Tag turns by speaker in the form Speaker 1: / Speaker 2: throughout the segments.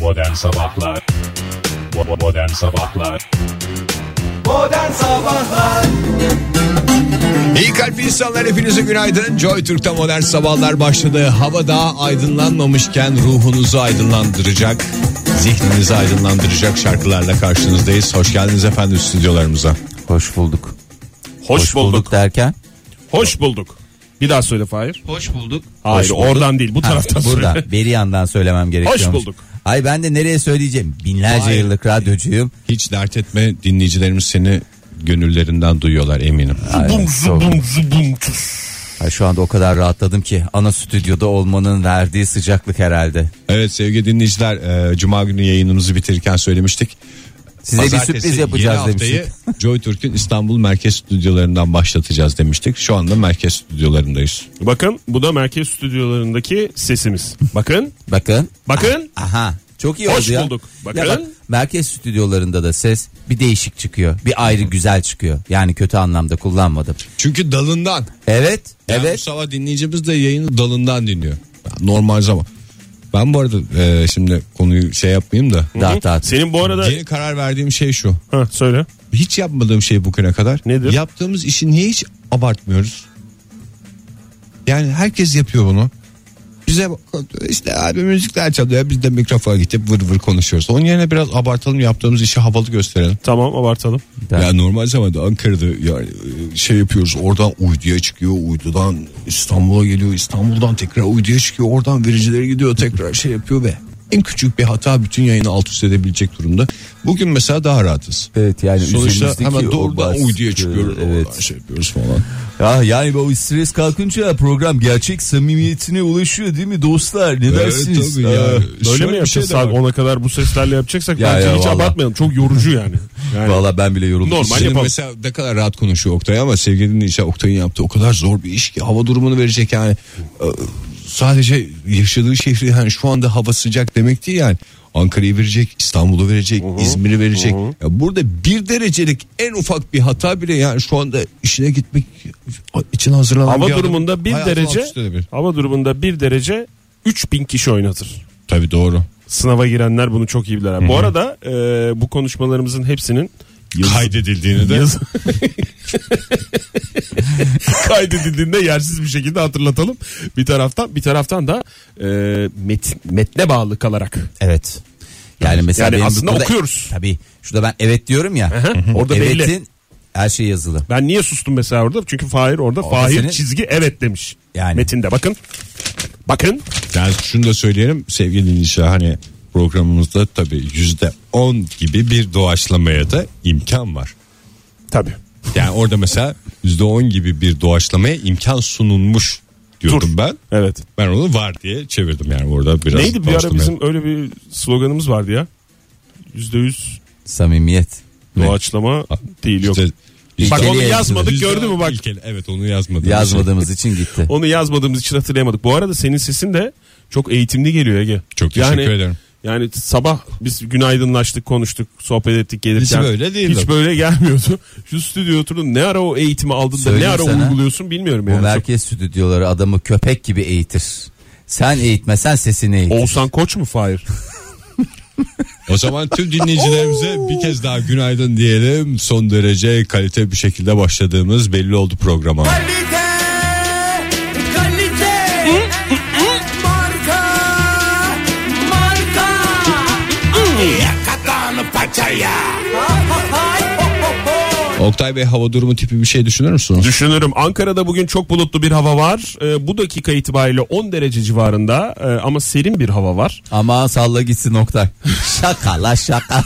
Speaker 1: Modern Sabahlar Bo- Modern Sabahlar
Speaker 2: Modern Sabahlar
Speaker 3: İyi kalp insanlar hepinize günaydın. Joy Türk'te modern sabahlar başladı. Hava daha aydınlanmamışken ruhunuzu aydınlandıracak, zihninizi aydınlandıracak şarkılarla karşınızdayız. Hoş geldiniz efendim stüdyolarımıza.
Speaker 4: Hoş bulduk.
Speaker 5: Hoş, bulduk.
Speaker 4: derken
Speaker 5: Hoş bulduk. Bir daha söyle Fahir.
Speaker 6: Hoş bulduk.
Speaker 5: Hayır
Speaker 4: bulduk.
Speaker 5: oradan değil bu taraftan
Speaker 4: ha,
Speaker 5: söyle.
Speaker 4: burada beri yandan söylemem gerekiyormuş.
Speaker 5: Hoş bulduk.
Speaker 4: Ay ben de nereye söyleyeceğim? Binlerce
Speaker 3: Vay.
Speaker 4: yıllık radyocuyum.
Speaker 3: Hiç dert etme dinleyicilerimiz seni gönüllerinden duyuyorlar eminim.
Speaker 5: Bum zubum zubum tüs.
Speaker 4: Ay şu anda o kadar rahatladım ki ana stüdyoda olmanın verdiği sıcaklık herhalde.
Speaker 3: Evet sevgili dinleyiciler e, cuma günü yayınımızı bitirirken söylemiştik.
Speaker 4: Size bir sürpriz yapacağız demiştik.
Speaker 3: Joy Türk'ün İstanbul merkez stüdyolarından başlatacağız demiştik. Şu anda merkez stüdyolarındayız.
Speaker 5: Bakın bu da merkez stüdyolarındaki sesimiz. Bakın.
Speaker 4: Bakın.
Speaker 5: Bakın.
Speaker 4: Aha. Çok iyi
Speaker 5: Hoş
Speaker 4: oldu ya.
Speaker 5: bulduk. Bakın.
Speaker 4: Ya bak, merkez stüdyolarında da ses bir değişik çıkıyor. Bir ayrı güzel çıkıyor. Yani kötü anlamda kullanmadım.
Speaker 3: Çünkü dalından
Speaker 4: Evet.
Speaker 3: Yani
Speaker 4: evet.
Speaker 3: Bu sabah dinleyicimiz de yayını dalından dinliyor. Normal zaman. Ben bu arada e, şimdi konuyu şey yapmayayım da.
Speaker 4: Dağıt dağıt.
Speaker 5: Senin bu arada
Speaker 3: Yeni karar verdiğim şey şu.
Speaker 5: ha, söyle.
Speaker 3: Hiç yapmadığım şey bugüne kadar.
Speaker 5: Nedir?
Speaker 3: Yaptığımız işi niye hiç abartmıyoruz? Yani herkes yapıyor bunu. Bize bak- işte abi müzikler çalıyor. Biz de mikrofona gidip vır vır konuşuyoruz. Onun yerine biraz abartalım yaptığımız işi havalı gösterelim.
Speaker 5: Tamam abartalım.
Speaker 4: Evet.
Speaker 3: Ya normal zamanda Ankara'da yani e, şey yapıyoruz oradan uyduya çıkıyor uydudan İstanbul'a geliyor İstanbul'dan tekrar uyduya çıkıyor oradan vericilere gidiyor tekrar şey yapıyor ve en küçük bir hata bütün yayını alt üst edebilecek durumda. Bugün mesela daha rahatız.
Speaker 4: Evet, yani
Speaker 3: Sonuçta
Speaker 4: üzerimizdeki
Speaker 3: hemen
Speaker 4: o
Speaker 3: doğrudan
Speaker 4: baskı,
Speaker 3: uyduya çıkıyoruz
Speaker 4: evet.
Speaker 3: oradan şey yapıyoruz falan.
Speaker 4: Ya yani o stres kalkınca program gerçek samimiyetine ulaşıyor değil mi dostlar? Ne dersiniz?
Speaker 3: tabii ya.
Speaker 4: Aa,
Speaker 5: Böyle
Speaker 3: Şöyle
Speaker 5: mi
Speaker 3: bir
Speaker 5: yapacağız
Speaker 3: şey de
Speaker 5: saat
Speaker 3: var.
Speaker 5: 10'a kadar bu seslerle yapacaksak
Speaker 4: Ya,
Speaker 5: bence
Speaker 4: ya,
Speaker 5: hiç
Speaker 4: vallahi.
Speaker 5: abartmayalım. Çok yorucu yani. yani
Speaker 4: Valla Ah, ben bile yoruldum.
Speaker 5: Normal
Speaker 3: Senin
Speaker 5: yapalım.
Speaker 3: mesela ne kadar rahat konuşuyor Oktay ama sevgili dinleyiciler Oktay'ın yaptığı o kadar zor bir iş ki hava durumunu verecek yani Ee, sadece yaşadığı şehri yani şu anda hava sıcak demek değil yani Ankara'yı verecek İstanbul'u verecek İzmir'i verecek ya burada bir derecelik en ufak bir hata bile yani şu anda işine gitmek için hazırlanan
Speaker 5: Hava
Speaker 3: bir adam
Speaker 5: durumunda bir
Speaker 3: hayatını alt
Speaker 5: derece
Speaker 3: üst edebilir.
Speaker 5: hava durumunda bir derece 3000 kişi oynatır.
Speaker 3: Tabii doğru
Speaker 5: Sınava girenler bunu çok iyi bilirler. Bu arada e, bu konuşmalarımızın hepsinin
Speaker 3: kaydedildiğini de
Speaker 5: Yaz- kaydedildiğinde yersiz bir şekilde hatırlatalım. Bir taraftan bir taraftan da e, metin, metne bağlı kalarak.
Speaker 4: Evet. Yani mesela
Speaker 5: Yani
Speaker 4: benim
Speaker 5: aslında okuyoruz.
Speaker 4: Tabii. Şurada ben evet diyorum ya.
Speaker 5: hı. Orada belli.
Speaker 4: Evetin her şey yazılı.
Speaker 5: Ben niye sustum mesela orada? Çünkü Fahir orada, Fahir
Speaker 4: senin-
Speaker 5: çizgi evet demiş.
Speaker 4: Yani.
Speaker 5: Metinde bakın. Bakın.
Speaker 3: Yani şunu da söyleyelim sevgili dinleyiciler hani programımızda tabii yüzde on gibi bir doğaçlamaya da imkan var.
Speaker 5: Tabii.
Speaker 3: Yani orada mesela yüzde on gibi bir doğaçlamaya imkan sunulmuş diyordum
Speaker 5: Dur.
Speaker 3: ben.
Speaker 5: Evet.
Speaker 3: Ben onu var diye çevirdim yani orada biraz.
Speaker 5: Neydi bir ara
Speaker 3: doğaçlamaya-
Speaker 5: bizim öyle bir sloganımız vardı ya. Yüzde yüz
Speaker 4: Samimiyet.
Speaker 5: doğaçlama değil yok.
Speaker 3: İşte-
Speaker 5: Bak
Speaker 4: İlkeli
Speaker 5: onu
Speaker 4: elbise.
Speaker 5: yazmadık
Speaker 3: Yüzde
Speaker 5: gördün mü bak.
Speaker 3: ilkeli. Evet onu yazmadım.
Speaker 4: Yazmadığımız için gitti.
Speaker 5: Onu yazmadığımız için hatırlayamadık. Bu arada senin sesin de çok eğitimli geliyor Ege.
Speaker 3: Çok teşekkür ederim.
Speaker 5: Yani sabah biz günaydınlaştık, konuştuk, sohbet ettik gelirken.
Speaker 3: Hiç böyle değildim.
Speaker 5: Hiç böyle gelmiyordu. Şu stüdyo oturdun ne ara o eğitimi aldın da ne
Speaker 4: Söyleyeyim
Speaker 5: ara
Speaker 4: sana,
Speaker 5: uyguluyorsun bilmiyorum
Speaker 4: Bu
Speaker 5: yani.
Speaker 4: merkez stüdyoları adamı köpek gibi eğitir. Sen eğitmesen sesini eğitir.
Speaker 5: Oğuzhan Koç mu Fahir?
Speaker 3: O zaman tüm dinleyicilerimize bir kez daha günaydın diyelim. Son derece kalite bir şekilde başladığımız belli oldu programa.
Speaker 2: Kalite Kalite Marka Marka Yakadan paçaya
Speaker 3: Oktay Bey hava durumu tipi bir şey düşünür müsünüz?
Speaker 5: Düşünürüm. Ankara'da bugün çok bulutlu bir hava var. Ee, bu dakika itibariyle 10 derece civarında e, ama serin bir hava var.
Speaker 4: Ama salla gitsin Oktay. şaka la şaka.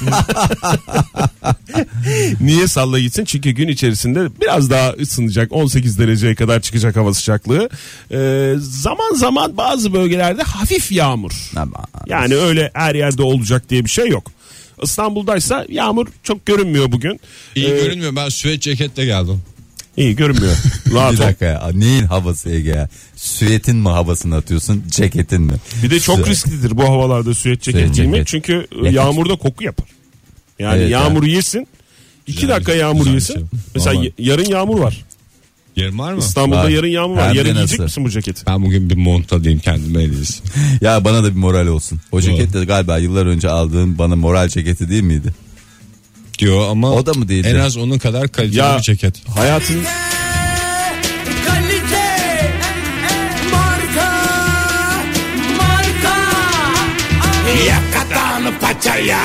Speaker 5: Niye salla gitsin? Çünkü gün içerisinde biraz daha ısınacak. 18 dereceye kadar çıkacak hava sıcaklığı. Ee, zaman zaman bazı bölgelerde hafif yağmur.
Speaker 4: Aman.
Speaker 5: Yani öyle her yerde olacak diye bir şey yok. İstanbul'daysa yağmur çok görünmüyor bugün.
Speaker 3: İyi
Speaker 5: Ee,
Speaker 3: görünmüyor ben süet ceketle geldim.
Speaker 5: iyi görünmüyor. Rahat
Speaker 4: Bir
Speaker 5: ol.
Speaker 4: dakika ya. Neyin havası Ege ya? Süetin mi havasını atıyorsun ceketin mi?
Speaker 5: Bir de çok
Speaker 4: Süet.
Speaker 5: risklidir bu havalarda süet
Speaker 4: Süet
Speaker 5: ceket giymek.
Speaker 4: ceket.
Speaker 5: Çünkü
Speaker 4: Nefes.
Speaker 5: yağmurda koku yapar. Yani
Speaker 4: Evet,
Speaker 5: yağmur yesin. 2
Speaker 3: Güzel bir-
Speaker 5: dakika yağmur
Speaker 3: güzel bir
Speaker 5: yesin.
Speaker 3: şey.
Speaker 5: Mesela
Speaker 3: Vallahi.
Speaker 5: y- yarın yağmur var.
Speaker 3: Yerim var mı?
Speaker 5: İstanbul'da
Speaker 4: Var.
Speaker 5: yarın yağmur var.
Speaker 4: Hem de
Speaker 5: Yarın
Speaker 4: nasıl?
Speaker 5: giyecek misin bu ceketi?
Speaker 3: Ben bugün bir monta diyeyim kendime en iyisi.
Speaker 4: Ya bana da bir moral olsun. O ceket de galiba yıllar önce aldığın bana moral ceketi değil miydi?
Speaker 3: Diyor ama
Speaker 4: O da mı değildi?
Speaker 3: en az onun kadar kaliteli
Speaker 5: Ya-
Speaker 3: bir ceket.
Speaker 5: Hayatın
Speaker 2: Kalite marka marka
Speaker 1: Yakatan paçaya.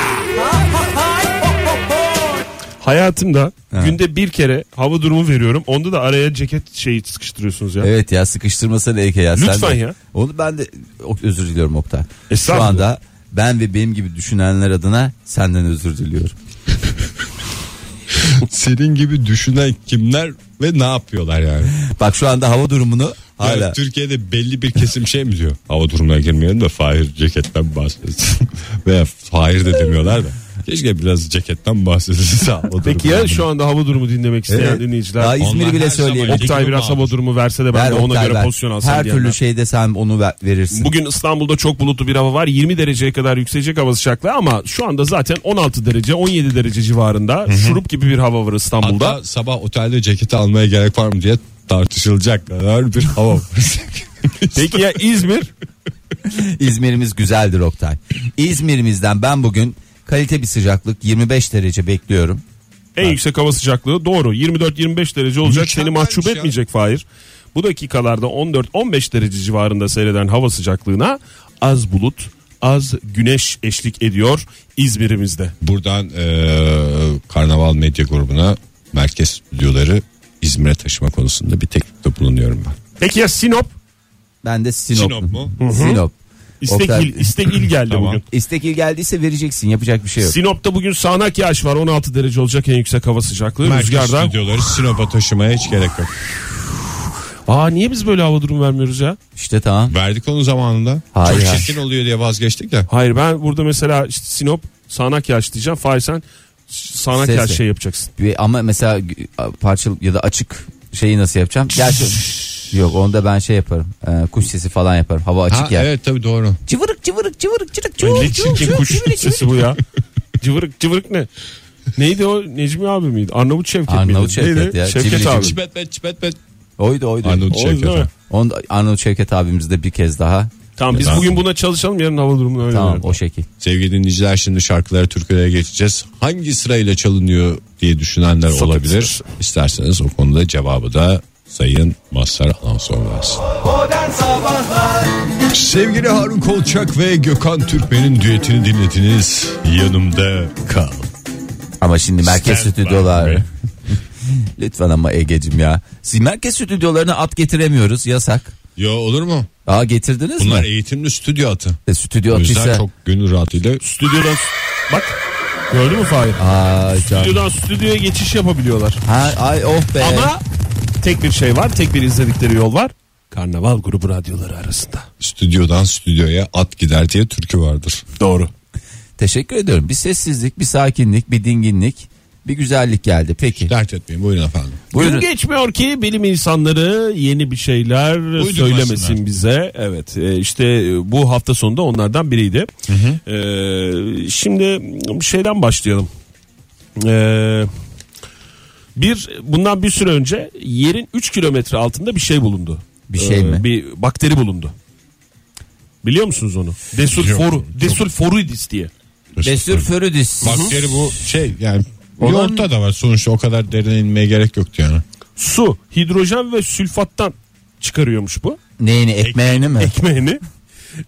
Speaker 5: hayatımda günde bir kere hava durumu veriyorum. Onda da araya ceket şeyi sıkıştırıyorsunuz ya.
Speaker 4: Evet ya sıkıştırmasana Eke ya.
Speaker 5: Lütfen
Speaker 4: Sen de-
Speaker 5: ya.
Speaker 4: Onu ben de o- özür diliyorum Oktay. Şu
Speaker 5: Estağfurullah.
Speaker 4: anda ben ve benim gibi düşünenler adına senden özür diliyorum.
Speaker 3: Senin gibi düşünen kimler ve ne yapıyorlar yani?
Speaker 4: Bak şu anda hava durumunu hala.
Speaker 3: Yani Türkiye'de belli bir kesim şey mi diyor? Hava durumuna girmeyelim de Fahir ceketten bahsetsin. Veya Fahir de demiyorlar da. Keşke biraz ceketten bahsedilse. hava
Speaker 5: Peki
Speaker 3: durumu.
Speaker 5: ya şu anda hava durumu dinlemek isteyen
Speaker 4: Evet.
Speaker 5: dinleyiciler.
Speaker 4: Daha İzmir'i
Speaker 3: Onlar
Speaker 4: bile
Speaker 3: her
Speaker 4: söyleyelim.
Speaker 3: zaman ilgili
Speaker 5: Oktay biraz
Speaker 3: olmaz.
Speaker 5: hava durumu verse de ben
Speaker 4: Ver
Speaker 5: de ona
Speaker 4: Oktay,
Speaker 5: göre
Speaker 4: ver.
Speaker 5: pozisyon alsam
Speaker 4: Her
Speaker 5: diyenler.
Speaker 4: türlü şey- şeyde sen onu ver- verirsin.
Speaker 5: Bugün İstanbul'da çok bulutlu bir hava var. 20 dereceye kadar yükselecek hava sıcaklığı ama şu anda zaten 16 derece 17 derece civarında. Şurup gibi bir hava var İstanbul'da.
Speaker 3: Hatta sabah otelde ceketi almaya gerek var mı diye tartışılacak kadar bir hava var.
Speaker 5: Peki ya İzmir?
Speaker 4: İzmir'imiz güzeldir Oktay. İzmir'imizden ben bugün kalite bir sıcaklık 25 derece bekliyorum.
Speaker 5: en yüksek hava sıcaklığı doğru. 24-25 derece olacak.
Speaker 3: Mükemmelmiş
Speaker 5: Seni mahcup
Speaker 3: ya.
Speaker 5: etmeyecek Fahir. Bu dakikalarda 14-15 derece civarında seyreden hava sıcaklığına az bulut, az güneş eşlik ediyor İzmir'imizde.
Speaker 3: Buradan eee, Karnaval Medya Grubu'na merkez stüdyoları İzmir'e taşıma konusunda bir teklifte bulunuyorum ben.
Speaker 5: Peki ya Sinop?
Speaker 4: Ben de Sinop.
Speaker 3: Sinop mu? Hı
Speaker 4: Sinop.
Speaker 5: İstek
Speaker 4: Oktay-
Speaker 5: il, istek il geldi
Speaker 3: Tamam.
Speaker 5: bugün.
Speaker 4: İstek il geldiyse vereceksin yapacak bir şey yok.
Speaker 5: Sinop'ta bugün sağanak yağış var. 16 derece olacak en yüksek hava sıcaklığı.
Speaker 3: Merkez
Speaker 5: Rüzgardan
Speaker 3: stüdyoları Sinop'a taşımaya hiç gerek yok.
Speaker 5: Aa niye biz böyle hava durumu vermiyoruz ya?
Speaker 4: İşte tamam.
Speaker 3: Verdik onu zamanında.
Speaker 4: Hayır,
Speaker 3: Çok
Speaker 4: hayır.
Speaker 3: çirkin oluyor diye vazgeçtik ya.
Speaker 5: Hayır ben burada mesela işte Sinop sağanak yağış diyeceğim. Fahir sen s- sağanak
Speaker 4: Sesle.
Speaker 5: yağış şey yapacaksın.
Speaker 4: Bir- Ama mesela g- parçalı ya da açık şeyi nasıl yapacağım? Gerçi yok onda ben şey yaparım. Ee, kuş sesi falan yaparım. Hava açık
Speaker 3: Ha,
Speaker 4: ya.
Speaker 3: evet tabii doğru.
Speaker 4: Cıvırık cıvırık cıvırık cıvırık
Speaker 5: Ne
Speaker 4: cıvırık cıvırık
Speaker 5: çirkin
Speaker 4: cıvırık
Speaker 5: kuş
Speaker 4: cıvırık cıvırık.
Speaker 5: sesi bu ya. cıvırık cıvırık ne? Neydi o Necmi abi miydi? Arnavut Şevket
Speaker 4: Arnavut
Speaker 5: miydi?
Speaker 4: Şevket
Speaker 5: Neydi?
Speaker 4: ya.
Speaker 5: Şevket
Speaker 4: Cimri
Speaker 5: abi.
Speaker 4: cimri.
Speaker 3: Çipet bet çipet bet.
Speaker 4: Oydu oydu.
Speaker 3: Arnavut
Speaker 5: O yüzden
Speaker 3: Şevket.
Speaker 5: mi?
Speaker 4: Onu Arnavut Şevket abimiz de bir kez daha.
Speaker 5: Tamam biz
Speaker 3: Neden?
Speaker 5: bugün buna çalışalım yarın hava durumunu öyle
Speaker 4: Tamam
Speaker 5: verelim.
Speaker 4: o şekil.
Speaker 3: Sevgili dinleyiciler şimdi şarkılara türkülere geçeceğiz. Hangi sırayla çalınıyor diye düşünenler
Speaker 5: Sokak
Speaker 3: olabilir.
Speaker 5: sırası.
Speaker 3: İsterseniz o konuda cevabı da Sayın Mazhar Alanson versin.
Speaker 2: Modern Sabahlar
Speaker 3: Sevgili Harun Kolçak ve Gökhan Türkmen'in düetini dinlediniz. Yanımda kal.
Speaker 4: Ama şimdi merkez
Speaker 3: Stand by
Speaker 4: stüdyolar.
Speaker 3: me.
Speaker 4: Lütfen ama Ege'cim ya. Siz merkez stüdyolarına at getiremiyoruz yasak.
Speaker 3: Yo olur mu?
Speaker 4: Aa getirdiniz
Speaker 3: Bunlar
Speaker 4: mi?
Speaker 3: eğitimli stüdyo atı.
Speaker 4: E, stüdyo
Speaker 3: O yüzden
Speaker 4: atıysa.
Speaker 3: çok gönül rahatlığıyla
Speaker 5: Stüdyodan bak gördün mü Fahir?
Speaker 4: Ay, can-
Speaker 5: Stüdyodan stüdyoya geçiş yapabiliyorlar.
Speaker 4: Ha, ay oh be.
Speaker 5: Ama tek bir şey var tek bir izledikleri yol var. Karnaval grubu radyoları arasında.
Speaker 3: stüdyodan stüdyoya at gider diye türkü vardır.
Speaker 5: Doğru.
Speaker 4: Teşekkür ediyorum. Bir sessizlik, bir sakinlik, bir dinginlik, bir güzellik geldi. Peki.
Speaker 3: Dert etmeyin buyurun efendim.
Speaker 4: Buyurun.
Speaker 5: Gün geçmiyor ki bilim insanları yeni bir şeyler söylemesin bize. Evet e, işte e, bu hafta sonunda onlardan biriydi. E, şimdi şeyden başlayalım. E, bir bundan bir süre önce yerin 3 kilometre altında bir şey bulundu.
Speaker 4: Bir şey
Speaker 5: E,
Speaker 4: mi?
Speaker 5: Bir bakteri bulundu. Biliyor musunuz onu? Desulforu, desulforidis diye.
Speaker 4: Desürförüdüs.
Speaker 3: Bakteri bu şey yani
Speaker 4: Olan-
Speaker 3: yoğurtta da var sonuçta o kadar derine inmeye gerek yoktu yani.
Speaker 5: Su, hidrojen ve sülfattan çıkarıyormuş bu.
Speaker 4: Neyini ekmeğini mi?
Speaker 5: ekmeğini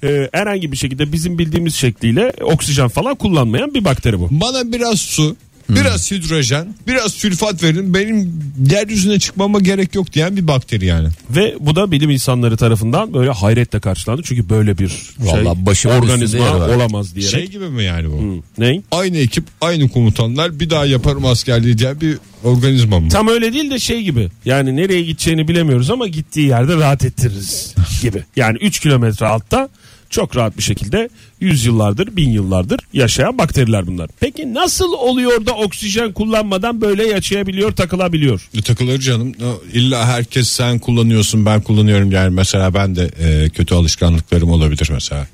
Speaker 5: e, herhangi bir şekilde bizim bildiğimiz şekliyle oksijen falan kullanmayan bir bakteri bu.
Speaker 3: Bana biraz su, biraz hidrojen, biraz sülfat verin benim yeryüzüne çıkmama gerek yok diyen bir bakteri yani.
Speaker 5: Ve bu da bilim insanları tarafından böyle hayretle karşılandı. Çünkü böyle bir şey,
Speaker 4: Vallahi başımın üstünde yeri
Speaker 5: organizma
Speaker 4: var.
Speaker 5: olamaz diyerek.
Speaker 3: Şey gibi mi yani bu?
Speaker 5: Ney?
Speaker 3: Aynı ekip aynı komutanlar bir daha yaparım askerliği diye bir organizma mı?
Speaker 5: Tam öyle değil de şey gibi. Yani nereye gideceğini bilemiyoruz ama gittiği yerde rahat ettiririz gibi. Yani 3 kilometre altta çok rahat bir şekilde yüzyıllardır, bin yıllardır yaşayan bakteriler bunlar. Peki nasıl oluyor da oksijen kullanmadan böyle yaşayabiliyor, takılabiliyor?
Speaker 3: E, Takılır canım. O, İlla herkes sen kullanıyorsun ben kullanıyorum yani mesela ben de e, kötü alışkanlıklarım olabilir mesela.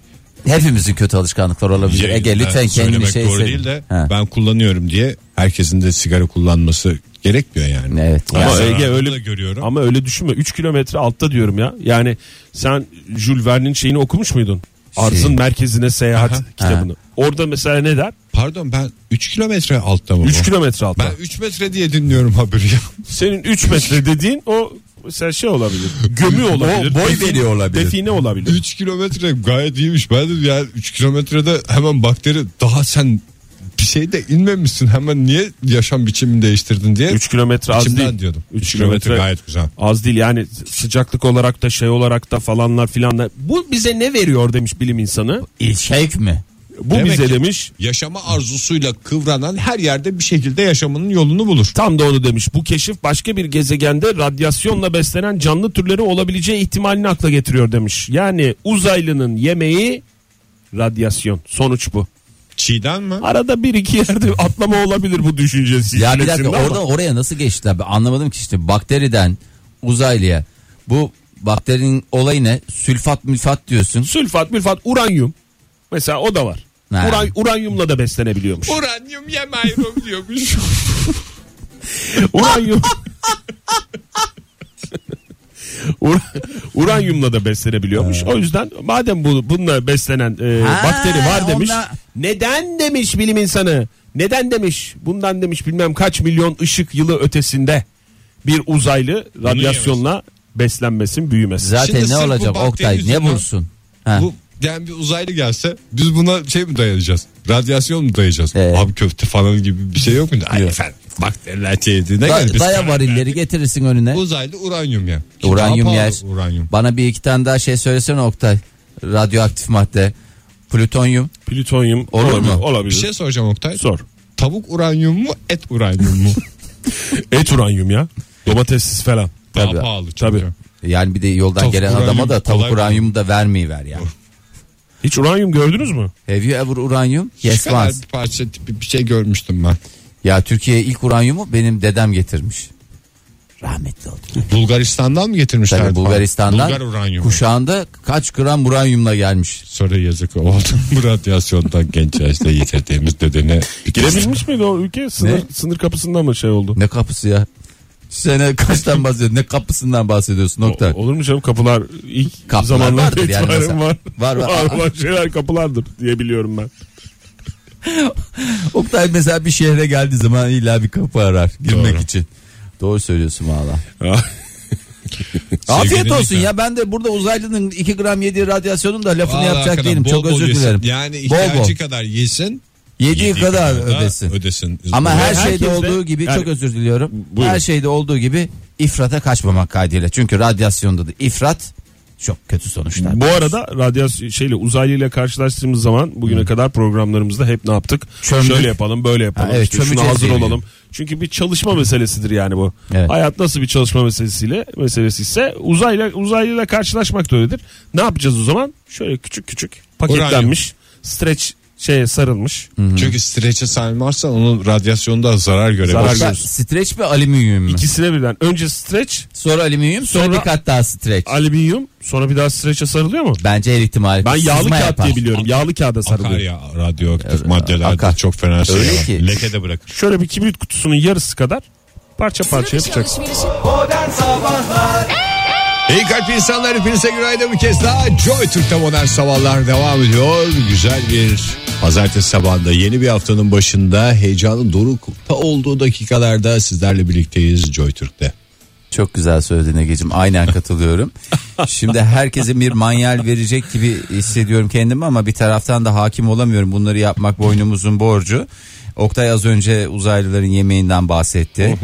Speaker 4: Hepimizin kötü alışkanlıkları olabilir.
Speaker 3: Yayında
Speaker 4: Ege lütfen kendini
Speaker 3: Şey, söylemek
Speaker 4: şey
Speaker 3: doğru
Speaker 4: söyle.
Speaker 3: değil de
Speaker 4: Ha.
Speaker 3: ben kullanıyorum diye herkesin de sigara kullanması Gerekmiyor yani.
Speaker 4: Evet.
Speaker 5: Ama
Speaker 4: Yani-
Speaker 3: Ben
Speaker 5: Ege
Speaker 3: zararını
Speaker 5: öyle
Speaker 3: da görüyorum.
Speaker 5: Ama öyle düşünme. 3 kilometre altta diyorum ya. Yani sen Jules Verne'in şeyini okumuş muydun? Arzın
Speaker 4: Şey.
Speaker 5: merkezine seyahat
Speaker 3: Aha.
Speaker 5: kitabını. Orada mesela ne der?
Speaker 3: Pardon ben 3 kilometre altta mı
Speaker 5: 3
Speaker 3: bu?
Speaker 5: kilometre altta.
Speaker 3: Ben 3 metre diye dinliyorum haberi ya.
Speaker 5: Senin 3 metre dediğin o mesela şey olabilir. Gömü olabilir.
Speaker 4: O boy
Speaker 5: define-
Speaker 4: veriyor olabilir.
Speaker 5: Define olabilir.
Speaker 3: 3 kilometre gayet iyiymiş. Ben de yani 3 kilometrede hemen bakteri daha sen bir şey de inmemişsin. Hemen niye yaşam biçimini değiştirdin diye.
Speaker 5: 3 kilometre az
Speaker 3: İçimden
Speaker 5: değil.
Speaker 3: diyordum.
Speaker 5: 3
Speaker 3: Üç kilometre
Speaker 5: kilometre
Speaker 3: gayet güzel.
Speaker 5: Az değil yani sıcaklık olarak da şey olarak da falanlar filan da. Bu bize ne veriyor demiş bilim insanı.
Speaker 4: İlşek şey mi?
Speaker 5: Bu
Speaker 3: Demek
Speaker 5: bize
Speaker 3: ki-
Speaker 5: demiş.
Speaker 3: Yaşama arzusuyla kıvranan her yerde bir şekilde yaşamının yolunu bulur.
Speaker 5: Tam da onu demiş. Bu keşif başka bir gezegende radyasyonla beslenen canlı türleri olabileceği ihtimalini akla getiriyor demiş. Yani uzaylının yemeği radyasyon. Sonuç bu.
Speaker 3: Çiğden mi?
Speaker 5: Arada bir iki yerde atlama olabilir bu düşüncesi.
Speaker 4: Ya bir dakika
Speaker 5: içerisinde ama-
Speaker 4: oradan oraya nasıl geçtiler? Ben anlamadım ki işte bakteriden uzaylıya. Bu bakterinin olayı ne? Sülfat mülfat diyorsun.
Speaker 5: Sülfat, mülfat, uranyum. Mesela o da var.
Speaker 4: Ha.
Speaker 5: Uran- uranyumla da beslenebiliyormuş.
Speaker 3: Uranyum yemayrum diyormuş.
Speaker 5: Uranyum. Ur- uranyumla da beslenebiliyormuş. O yüzden madem bu bununla beslenen e,
Speaker 4: Ha,
Speaker 5: bakteri var demiş.
Speaker 4: onunla-
Speaker 5: Neden demiş bilim insanı? Neden demiş? Bundan demiş bilmem kaç milyon ışık yılı ötesinde bir uzaylı radyasyonla beslenmesin, büyümesin.
Speaker 4: Zaten
Speaker 3: Şimdi
Speaker 4: ne
Speaker 3: sırf bu
Speaker 4: olacak
Speaker 3: bakteri
Speaker 4: Oktay? Ne
Speaker 3: yüzünden-
Speaker 4: bulsun? Ha.
Speaker 3: Bu yani bir uzaylı gelse biz buna şey mi dayanacağız? Radyasyon mu dayanacağız?
Speaker 4: Evet.
Speaker 3: Abi köfte falan gibi bir şey yok mu? Ay
Speaker 4: Ee. Yok.
Speaker 3: efendim bakteriler çevirdi. Ne
Speaker 4: Da-
Speaker 3: geldi biz
Speaker 4: daya
Speaker 3: karar
Speaker 4: varilleri
Speaker 3: verdik.
Speaker 4: getirirsin önüne.
Speaker 3: Uzaylı uranyum ya.
Speaker 4: Uranyum
Speaker 3: Daha
Speaker 4: yer.
Speaker 3: pahalı Uranyum.
Speaker 4: Bana bir iki tane daha şey söylesene Oktay. Radyoaktif madde. Plütonyum.
Speaker 5: Plütonyum
Speaker 4: Olur
Speaker 5: olabilir.
Speaker 4: mu?
Speaker 5: olabilir.
Speaker 3: Bir şey soracağım Oktay.
Speaker 5: sor.
Speaker 3: Tavuk uranyum mu et uranyum mu?
Speaker 5: Et uranyum ya. Domatessiz falan.
Speaker 3: Daha
Speaker 4: Tabii.
Speaker 3: pahalı çünkü.
Speaker 5: Tabii.
Speaker 4: Yani bir de yoldan
Speaker 3: Tavuk
Speaker 4: gelen adama
Speaker 3: uranyum
Speaker 4: da
Speaker 3: kolay
Speaker 4: tavuk
Speaker 3: mı?
Speaker 4: uranyumu da vermeyiver yani.
Speaker 5: Hiç uranyum gördünüz mü?
Speaker 4: Have you ever uranyum?
Speaker 3: Şu
Speaker 4: Yes
Speaker 3: kadar
Speaker 4: once.
Speaker 3: bir parça tipi bir şey görmüştüm ben.
Speaker 4: Ya Türkiye'ye ilk uranyumu benim dedem getirmiş. Rahmetli oldu.
Speaker 3: Bulgaristan'dan mı getirmişlerdi?
Speaker 4: Tabii
Speaker 3: falan?
Speaker 4: Bulgaristan'dan
Speaker 3: Bulgar uranyum.
Speaker 4: kuşağında kaç gram uranyumla gelmiş.
Speaker 3: Sonra yazık oldu. Bu radyasyondan genç yaşta yitirdiğimiz dedene.
Speaker 5: Girebilmiş miydi o ülke? Sınır,
Speaker 4: Ne?
Speaker 5: sınır kapısında mı şey oldu?
Speaker 4: Ne kapısı ya? Sene kaçtan bahsediyorsun? Ne kapısından bahsediyorsun nokta?
Speaker 5: O- Olur mu canım kapılar ilk
Speaker 4: Kapılar
Speaker 5: zamanlar
Speaker 4: vardır yani
Speaker 5: itibaren
Speaker 4: mesela.
Speaker 5: var.
Speaker 4: Var, var.
Speaker 5: olan şeyler kapılardır diye biliyorum ben.
Speaker 4: Oktay mesela bir şehre geldiği zaman illa bir kapı arar girmek
Speaker 3: Doğru.
Speaker 4: için. Doğru söylüyorsun valla.
Speaker 3: Sevgili
Speaker 4: Afiyet olsun
Speaker 3: dinleyiciler.
Speaker 4: ya ben de burada uzaylının 2 gram yediği radyasyonun da lafını
Speaker 3: Vallahi
Speaker 4: yapacak
Speaker 3: hakikaten
Speaker 4: değilim.
Speaker 3: bol
Speaker 4: Çok
Speaker 3: bol
Speaker 4: özür
Speaker 3: yesin.
Speaker 4: dilerim.
Speaker 3: Yani
Speaker 4: bol
Speaker 3: ihtiyacı
Speaker 4: bol.
Speaker 3: kadar yesin.
Speaker 4: Yediği kadar
Speaker 3: da
Speaker 4: ödesin.
Speaker 3: Ödesin.
Speaker 4: Ama her şey-
Speaker 5: Herkes
Speaker 4: şeyde
Speaker 5: de-
Speaker 4: olduğu gibi
Speaker 5: yani-
Speaker 4: çok özür diliyorum.
Speaker 5: Buyurun.
Speaker 4: Her şeyde olduğu gibi ifrata kaçmamak kaydıyla. Çünkü radyasyonda da ifrat çok kötü sonuçlar.
Speaker 5: Bu arada radyasyon şeyle uzaylıyla karşılaştığımız zaman bugüne kadar programlarımızda hep ne yaptık?
Speaker 4: Çömdük.
Speaker 5: Şöyle yapalım, böyle yapalım.
Speaker 4: Ha, evet,
Speaker 5: işte şuna
Speaker 4: çömeceğiz
Speaker 5: hazır
Speaker 4: diye
Speaker 5: olalım. Çünkü bir çalışma meselesidir yani bu.
Speaker 4: Evet.
Speaker 5: Hayat nasıl bir çalışma meselesiyle meselesi ise uzayla uzaylıyla karşılaşmak da öyledir. Ne yapacağız o zaman? Şöyle küçük küçük paketlenmiş, stretch şeye sarılmış.
Speaker 3: Çünkü streçe sarmarsan onun radyasyonda zarar görebilirsin.
Speaker 5: Zarar
Speaker 4: Yoksa
Speaker 5: görürsün.
Speaker 4: streç mi alüminyum mu?
Speaker 5: İkisine birden. Önce stretch,
Speaker 4: Sonra alüminyum sonra,
Speaker 5: Sonra-
Speaker 4: bir kat daha streç.
Speaker 5: alüminyum, sonra bir daha streçe sarılıyor mu?
Speaker 4: Bence her ihtimali.
Speaker 5: Ben yağlı
Speaker 4: sızma
Speaker 5: kağıt
Speaker 4: yapar.
Speaker 5: diye biliyorum. Yağlı kağıda
Speaker 3: Akar
Speaker 5: sarılıyor.
Speaker 3: ya radyoaktif maddeler de
Speaker 4: akar.
Speaker 3: çok fena şey.
Speaker 4: Öyle
Speaker 3: var.
Speaker 4: ki.
Speaker 3: Leke de bırakır.
Speaker 5: Şöyle bir kibrit kutusunun yarısı kadar parça parça yapacaksın.
Speaker 2: Modern Sabahlar
Speaker 3: İyi kalp insanlar hepinize günaydın bir kez daha. Joy Türk'te modern sabahlar devam ediyor. Güzel bir pazartesi sabahında yeni bir haftanın başında heyecanın dorukta olduğu dakikalarda sizlerle birlikteyiz Joy Türk'te.
Speaker 4: Çok güzel söyledin Ege'cim. Aynen katılıyorum. Şimdi herkesin bir manyal verecek gibi hissediyorum kendimi ama bir taraftan da hakim olamıyorum. Bunları yapmak boynumuzun borcu. Oktay az önce uzaylıların yemeğinden bahsetti.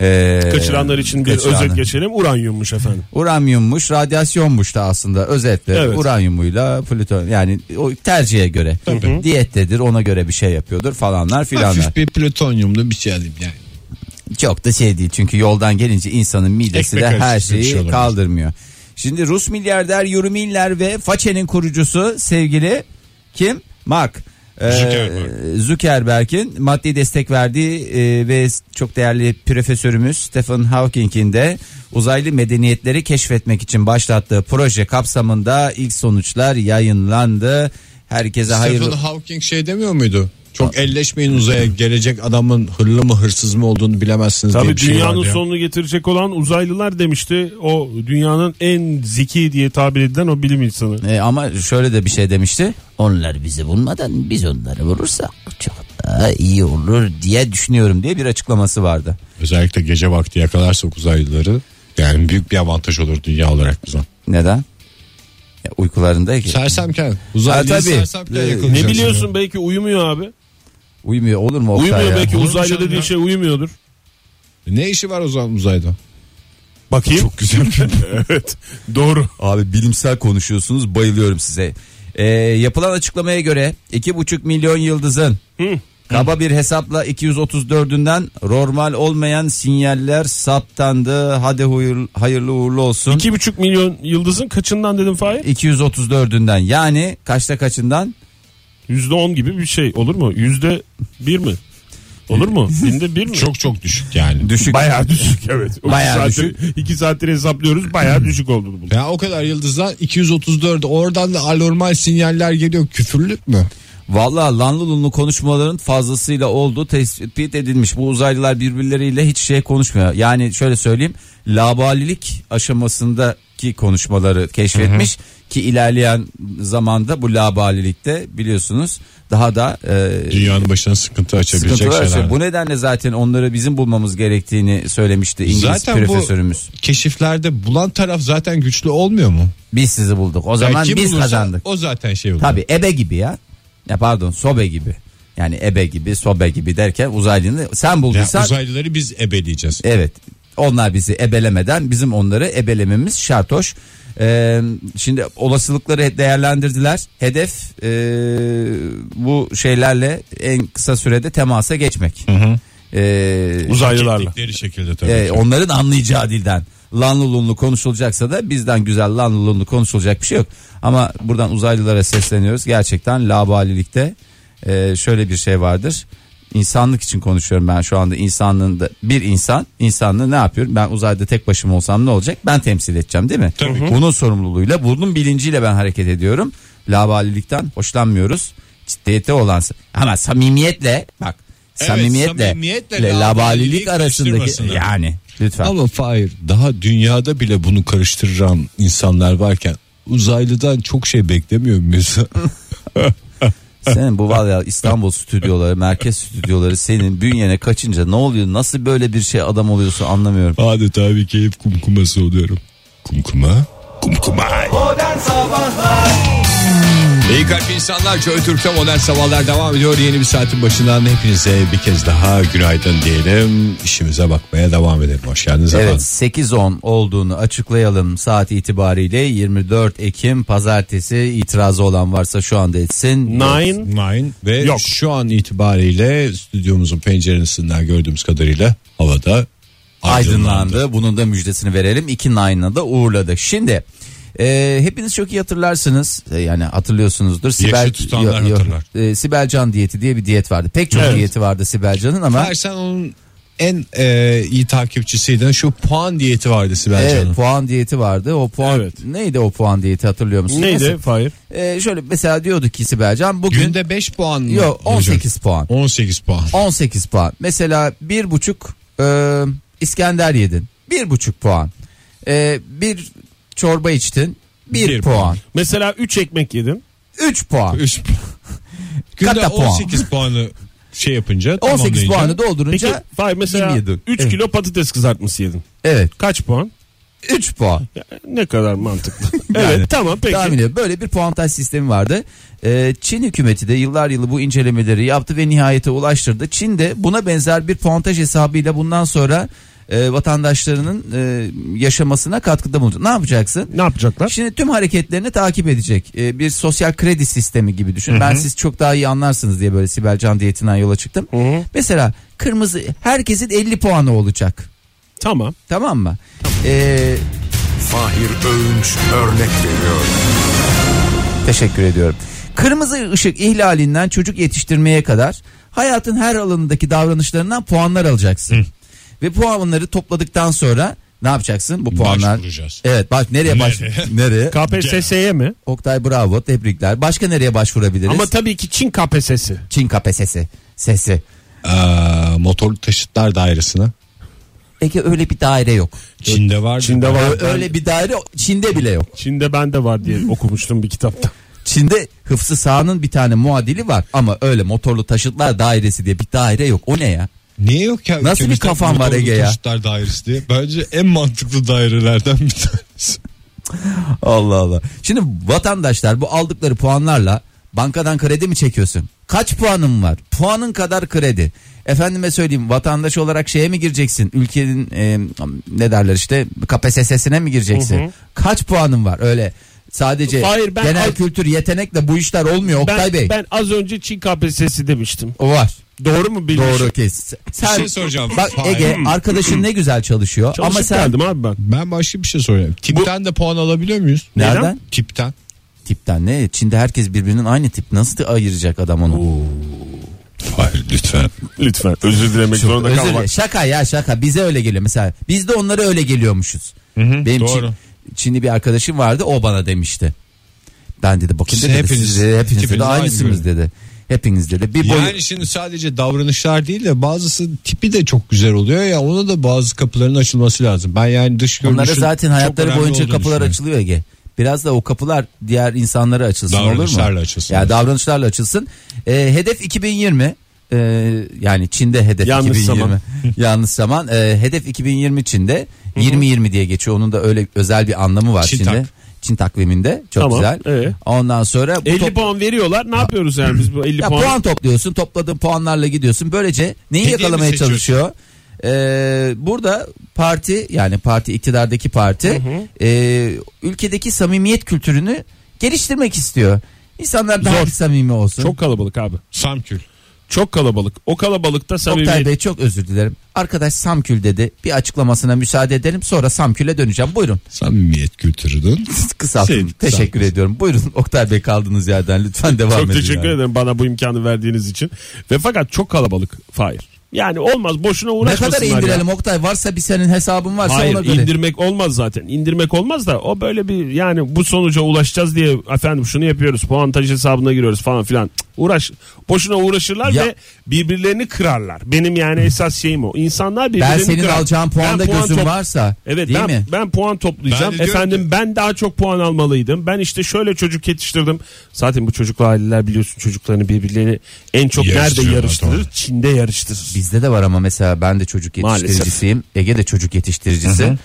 Speaker 4: Ee,
Speaker 5: Kaçıranlar için bir
Speaker 4: kaçıranlar.
Speaker 5: özet geçelim. Uranyummuş efendim.
Speaker 4: Uranyummuş, radyasyonmuş da aslında özetle.
Speaker 5: Evet.
Speaker 4: Uranyumuyla plüton yani o tercihe göre. Diyettedir, ona göre bir şey yapıyordur falanlar filanlar.
Speaker 3: Hafif bir plütonyumlu bir şey alayım yani.
Speaker 4: Çok da şey değil çünkü yoldan gelince insanın midesi
Speaker 3: Ekmek
Speaker 4: de her
Speaker 3: arası bir
Speaker 4: şeyi
Speaker 3: şey olamaz.
Speaker 4: kaldırmıyor. Şimdi Rus milyarder Yurimiller ve Façe'nin kurucusu sevgili kim? Mark. Ee,
Speaker 3: Zuckerberg.
Speaker 4: Zuckerberg'in maddi destek verdiği e, ve çok değerli profesörümüz Stephen Hawking'in de uzaylı medeniyetleri keşfetmek için başlattığı proje kapsamında ilk sonuçlar yayınlandı. Herkese hayırlı
Speaker 3: Stephen Hawking şey demiyor muydu? Çok elleşmeyin uzaya gelecek adamın hırlı mı hırsız mı olduğunu bilemezsiniz diye
Speaker 5: Tabii
Speaker 3: bir şey
Speaker 5: dünyanın
Speaker 3: vardı ya.
Speaker 5: sonunu getirecek olan uzaylılar demişti. O dünyanın en zeki diye tabir edilen o bilim insanı.
Speaker 4: E, ama şöyle de bir şey demişti. Onlar bizi bulmadan biz onları vurursak çok daha iyi olur diye düşünüyorum diye bir açıklaması vardı.
Speaker 3: Özellikle gece vakti yakalarsak uzaylıları yani büyük bir avantaj olur dünya olarak bize.
Speaker 4: Neden? Ya, uykularında ki.
Speaker 3: Sersemken uzaylı
Speaker 4: Ha, tabii.
Speaker 3: sersemken
Speaker 4: Ee,
Speaker 5: Ne
Speaker 3: yakalayacaksın.
Speaker 5: biliyorsun belki uyumuyor abi.
Speaker 4: Uyumuyor olur mu Oktay
Speaker 5: Uyumuyor
Speaker 4: ya?
Speaker 5: belki
Speaker 3: Olur mu
Speaker 5: uzaylı
Speaker 3: canım
Speaker 5: dediğin
Speaker 3: ya?
Speaker 5: şey uyumuyordur.
Speaker 3: Ne işi var o zaman uzayda?
Speaker 5: Bakayım. Çok güzel. evet. Doğru.
Speaker 4: Abi bilimsel konuşuyorsunuz bayılıyorum size. Ee, yapılan açıklamaya göre 2,5 milyon yıldızın kaba bir hesapla 234'ünden normal olmayan sinyaller saptandı. Hadi huyur- hayırlı uğurlu olsun.
Speaker 5: 2,5 milyon yıldızın kaçından dedim Fahir?
Speaker 4: 234'ünden yani kaçta kaçından?
Speaker 5: %10 gibi bir şey olur mu? %1 mi? Olur mu? Binde 1 mi?
Speaker 3: Çok çok düşük yani.
Speaker 4: Düşük.
Speaker 5: Bayağı düşük evet. O
Speaker 4: Bayağı
Speaker 5: saattir, iki saattir hesaplıyoruz bayağı düşük olduğunu bulduk.
Speaker 3: Ya o kadar yıldızdan 234 oradan da anormal sinyaller geliyor. Küfürlük mü?
Speaker 4: Valla Lanlulu'nun konuşmaların fazlasıyla olduğu tespit edilmiş. Bu uzaylılar birbirleriyle hiç şey konuşmuyor. Yani şöyle söyleyeyim labalilik aşamasındaki konuşmaları keşfetmiş ki ilerleyen zamanda bu labalilikte biliyorsunuz daha da e,
Speaker 3: Dünyanın başına sıkıntı açabilecek
Speaker 4: sıkıntılar
Speaker 3: şeyler.
Speaker 4: açıyor. Bu nedenle zaten onları bizim bulmamız gerektiğini söylemişti İngiliz
Speaker 3: Zaten bu
Speaker 4: profesörümüz.
Speaker 3: keşiflerde bulan taraf zaten güçlü olmuyor mu?
Speaker 4: Biz sizi bulduk. O zaman
Speaker 3: Yani kim
Speaker 4: biz
Speaker 3: bulursa
Speaker 4: kazandık.
Speaker 3: O zaten şey oluyor.
Speaker 4: Tabi ebe gibi ya. Ya pardon sobe gibi. Yani ebe gibi sobe gibi derken uzaylını sen
Speaker 3: Ya
Speaker 4: bulduysan
Speaker 3: uzaylıları biz ebeleyeceğiz.
Speaker 4: evet onlar bizi ebelemeden bizim onları ebelememiz şart hoş. Ee, şimdi olasılıkları değerlendirdiler. Hedef ee, bu şeylerle en kısa sürede temasa geçmek. Ee,
Speaker 5: Uzaylılarla.
Speaker 3: Deri şekilde tabii.
Speaker 4: ee,
Speaker 3: ki.
Speaker 4: onların anlayacağı dilden. Lanlulunlu konuşulacaksa da bizden güzel lanlulunlu konuşulacak bir şey yok. Ama buradan uzaylılara sesleniyoruz. Gerçekten labalilikte e, şöyle bir şey vardır. İnsanlık için konuşuyorum ben şu anda insanlığın da bir insan insanlığı ne yapıyorum ben uzayda tek başıma olsam ne olacak ben temsil edeceğim değil mi?
Speaker 3: Tabii ki.
Speaker 4: Bunun sorumluluğuyla bunun bilinciyle ben hareket ediyorum. Labalilikten hoşlanmıyoruz. Ciddiyete olan ama samimiyetle bak
Speaker 3: Evet,
Speaker 4: samimiyetle,
Speaker 3: samimiyetle
Speaker 4: ile labalilik
Speaker 3: labalilik
Speaker 4: arasındaki
Speaker 3: karıştırmasınlar.
Speaker 4: yani lütfen.
Speaker 3: Ama Fahir daha dünyada bile bunu karıştıran insanlar varken uzaylıdan çok şey beklemiyor muyuz?
Speaker 4: Senin bu var ya İstanbul stüdyoları, merkez stüdyoları senin bünyene kaçınca ne oluyor? Nasıl böyle bir şey adam oluyorsun anlamıyorum.
Speaker 3: Adeta bir keyif kumkuması oluyorum. Kumkuma? Kumkuma.
Speaker 2: Modern Sabahlar
Speaker 3: İyi kalp insanlar Joy Türk'te modern sabahlar devam ediyor. Yeni bir saatin başından hepinize bir kez daha günaydın diyelim. İşimize bakmaya devam edelim. Hoş geldiniz
Speaker 4: Evet
Speaker 3: efendim.
Speaker 4: 8-10 olduğunu açıklayalım saat itibariyle 24 Ekim pazartesi itirazı olan varsa şu anda etsin.
Speaker 5: Nine.
Speaker 3: Nine ve
Speaker 5: Yok.
Speaker 3: şu an itibariyle stüdyomuzun penceresinden gördüğümüz kadarıyla havada aydınlandı.
Speaker 4: aydınlandı. Bunun da müjdesini verelim. 2 Nine'la da uğurladık. Şimdi e, hepiniz çok iyi hatırlarsınız. E, yani hatırlıyorsunuzdur.
Speaker 3: tutanlar hatırlar.
Speaker 4: e, Sibel Can diyeti diye bir diyet vardı. Pek çok
Speaker 5: Evet.
Speaker 4: diyeti vardı Sibel Can'ın ama
Speaker 3: Hayır, sen onun en e, iyi takipçisiydin. Şu puan diyeti vardı Sibel
Speaker 4: evet,
Speaker 3: Can'ın.
Speaker 4: puan diyeti vardı. O puan
Speaker 5: Evet.
Speaker 4: neydi o puan diyeti hatırlıyor musun?
Speaker 5: Neydi
Speaker 4: Neyse.
Speaker 5: Fahir?
Speaker 4: E, şöyle mesela diyordu ki Sibel Can bugün
Speaker 3: Günde 5 puan mı?
Speaker 4: yok
Speaker 3: hocam?
Speaker 4: 18 puan.
Speaker 3: 18 puan.
Speaker 4: 18 puan. Mesela bir buçuk e, İskender yedin. Bir buçuk puan. E, bir çorba içtin. Bir,
Speaker 3: Bir
Speaker 4: puan.
Speaker 5: Mesela 3 ekmek yedim.
Speaker 4: 3 puan.
Speaker 3: 3 puan. Günde
Speaker 4: Kata puan.
Speaker 3: 18 puanı şey yapınca
Speaker 4: 18
Speaker 3: tamamlayınca-
Speaker 4: puanı
Speaker 5: Peki
Speaker 4: doldurunca
Speaker 5: Fahir mesela
Speaker 4: 27.
Speaker 5: 3 kilo patates kızartması yedin.
Speaker 4: evet
Speaker 5: Kaç puan?
Speaker 4: 3 puan.
Speaker 5: Ya, ne kadar mantıklı. evet tamam peki.
Speaker 4: Tahmin ediyorum. Böyle bir puantaj sistemi vardı. Ee, Çin hükümeti de yıllar yılı bu incelemeleri yaptı ve nihayete ulaştırdı. Çin de buna benzer bir puantaj hesabıyla bundan sonra e, vatandaşlarının e, yaşamasına katkıda bulunacak. Ne yapacaksın?
Speaker 5: Ne yapacaklar?
Speaker 4: Şimdi tüm hareketlerini takip edecek. Ee, bir sosyal kredi sistemi gibi düşün. Ben siz çok daha iyi anlarsınız diye böyle Sibel Can diyetinden yola çıktım. Mesela kırmızı herkesin 50 puanı olacak.
Speaker 5: Tamam.
Speaker 4: Tamam mı? Ee,
Speaker 6: Fahir Öğünç örnek veriyor.
Speaker 4: Teşekkür ediyorum. Kırmızı ışık ihlalinden çocuk yetiştirmeye kadar hayatın her alanındaki davranışlarından puanlar alacaksın. Ve puanları topladıktan sonra ne yapacaksın bu puanlar?
Speaker 3: Başvuracağız.
Speaker 4: Evet bak nereye baş nereye?
Speaker 5: KPSS'ye mi?
Speaker 4: Oktay bravo tebrikler. Başka nereye başvurabiliriz?
Speaker 5: Ama tabii ki Çin KPSS'i.
Speaker 4: Çin KPSS'i sesi.
Speaker 3: Aa, motorlu e, taşıtlar dairesine.
Speaker 4: Peki öyle bir daire yok.
Speaker 3: Çin'de var.
Speaker 5: Çin'de var.
Speaker 4: Ö- Öyle bir daire Çin'de bile yok.
Speaker 5: Çin'de ben de var diye okumuştum bir kitapta.
Speaker 4: Çin'de Hıfzı Sağ'ın bir tane muadili var ama öyle motorlu taşıtlar dairesi diye bir daire yok. O ne ya?
Speaker 3: Niye yok ya?
Speaker 4: Nasıl bir
Speaker 3: ülkemizde
Speaker 4: kafan var
Speaker 3: motorlu
Speaker 4: Ege ya?
Speaker 3: Taşıtlar dairesi diye. Bence en mantıklı dairelerden bir tanesi.
Speaker 4: Allah Allah. Şimdi vatandaşlar bu aldıkları puanlarla bankadan kredi mi çekiyorsun? Kaç puanın var? Puanın kadar kredi. Efendime söyleyeyim vatandaş olarak şeye mi gireceksin? Ülkenin e, ne derler işte KPSS'sine mi gireceksin? Kaç puanın var? Öyle sadece
Speaker 5: Hayır, ben
Speaker 4: genel
Speaker 5: az-
Speaker 4: kültür yetenekle bu işler olmuyor
Speaker 5: Ben,
Speaker 4: Oktay Bey.
Speaker 5: ben az önce Çin KPSS'i demiştim.
Speaker 4: O var.
Speaker 5: Doğru mu bilmiş?
Speaker 4: Doğru kes. Sen,
Speaker 3: Bir şey soracağım.
Speaker 4: Bak
Speaker 3: Fahir.
Speaker 4: Ege arkadaşın ne güzel çalışıyor
Speaker 5: Çalışıp
Speaker 4: ama sen
Speaker 5: geldim abi ben.
Speaker 3: Ben başka bir şey soracağım. Tipten de puan alabiliyor muyuz?
Speaker 4: nereden?
Speaker 5: Neden?
Speaker 3: Tipten.
Speaker 4: Tipten ne? Çin'de herkes birbirinin aynı tip. Nasıl ayıracak adam onu?
Speaker 3: Hayır lütfen.
Speaker 5: Lütfen özür dilemek zorunda
Speaker 4: Özür
Speaker 5: kalmak.
Speaker 4: dilerim. Şaka ya şaka bize öyle geliyor mesela. Biz de onlara öyle geliyormuşuz. Benim Çin-
Speaker 3: doğru.
Speaker 4: Çinli bir arkadaşım vardı o bana demişti. Ben dedi bakın
Speaker 3: Siz
Speaker 4: dedi,
Speaker 3: hepiniz-
Speaker 4: siz dedi, hepiniz
Speaker 3: tipiniz
Speaker 4: de
Speaker 3: aynı
Speaker 4: aynısınız dedi. Hepiniz dedi. Bir boyu
Speaker 3: Yani şimdi sadece davranışlar değil de bazısı tipi de çok güzel oluyor ya ona da bazı kapıların açılması lazım. Ben yani dış görünüşün
Speaker 4: onlara zaten
Speaker 3: çok
Speaker 4: hayatları
Speaker 3: önemli
Speaker 4: boyunca
Speaker 3: olduğunu
Speaker 4: kapılar
Speaker 3: düşünüyorum.
Speaker 4: açılıyor Ege. Biraz da o kapılar diğer insanlara açılsın olur mu?
Speaker 3: Davranışlarla açılsın.
Speaker 4: Ya davranışlarla açılsın. Ee, hedef 2020 ee, yani Çin'de hedef
Speaker 5: Yanlış
Speaker 4: 2020.
Speaker 5: zaman.
Speaker 4: Yanlış zaman. Ee, hedef 2020 Çin'de 2020 diye geçiyor. Onun da öyle özel bir anlamı var
Speaker 3: Çin
Speaker 4: Çin'de.
Speaker 3: tak.
Speaker 4: Çin takviminde çok
Speaker 5: Tamam,
Speaker 4: güzel.
Speaker 5: ee?
Speaker 4: Ondan sonra bu
Speaker 5: 50
Speaker 4: top-
Speaker 5: puan veriyorlar. Ne yapıyoruz yani biz bu 50
Speaker 4: ya
Speaker 5: puan?
Speaker 4: puan... topluyorsun. Topladığın puanlarla gidiyorsun. Böylece neyi
Speaker 3: Hediye mi
Speaker 4: yakalamaya
Speaker 3: seçiyorsun?
Speaker 4: çalışıyor? Ee, burada parti yani parti iktidardaki parti e, ülkedeki samimiyet kültürünü geliştirmek istiyor. İnsanlar daha
Speaker 5: Zor.
Speaker 4: samimi olsun.
Speaker 5: Çok kalabalık abi.
Speaker 3: Samkül.
Speaker 5: Çok kalabalık. O kalabalıkta
Speaker 4: Oktay
Speaker 5: samimiyet.
Speaker 4: Bey çok özür dilerim. Arkadaş Samkül dedi. Bir açıklamasına müsaade edelim. Sonra Samkül'e döneceğim. Buyurun.
Speaker 3: Samimiyet kültürünün.
Speaker 5: Şey,
Speaker 4: Kısaltın.
Speaker 3: Sevdim,
Speaker 4: teşekkür
Speaker 3: sağ olun.
Speaker 4: ediyorum. Buyurun Oktay Bey kaldığınız yerden lütfen devam edin.
Speaker 5: Çok teşekkür
Speaker 4: yani.
Speaker 5: ederim bana bu imkanı verdiğiniz için. Ve fakat çok kalabalık Fahir. Yani olmaz boşuna
Speaker 4: Ne
Speaker 5: uğraşmasınlar.
Speaker 4: kadar
Speaker 5: ya.
Speaker 4: indirelim Oktay? Varsa bir senin hesabın varsa
Speaker 5: Hayır
Speaker 4: ona göre.
Speaker 5: indirmek olmaz zaten. İndirmek olmaz da o böyle bir yani bu sonuca ulaşacağız diye efendim şunu yapıyoruz puantaj hesabına giriyoruz falan filan. Cık, uğraş boşuna uğraşırlar
Speaker 4: Ya-
Speaker 5: ve birbirlerini kırarlar. Benim yani esas şeyim o. İnsanlar birbirini
Speaker 4: Ben senin
Speaker 5: kırar.
Speaker 4: alacağın puanda
Speaker 5: Ben puan
Speaker 4: gözüm
Speaker 5: top-
Speaker 4: varsa.
Speaker 5: Evet
Speaker 4: değil
Speaker 5: ben,
Speaker 4: mi?
Speaker 5: ben puan toplayacağım.
Speaker 3: Ben de diyorum
Speaker 5: Efendim ben daha çok puan almalıydım. Ben işte şöyle çocuk yetiştirdim. Zaten bu çocuklu aileler biliyorsun çocuklarını birbirlerini en çok nerede
Speaker 3: Yarıştırıyorlar,
Speaker 5: yarıştırır?
Speaker 3: doğru.
Speaker 5: Çin'de yarıştırır.
Speaker 4: Bizde de var ama mesela ben de çocuk
Speaker 5: Maalesef.
Speaker 4: yetiştiricisiyim. Ege de çocuk yetiştiricisi.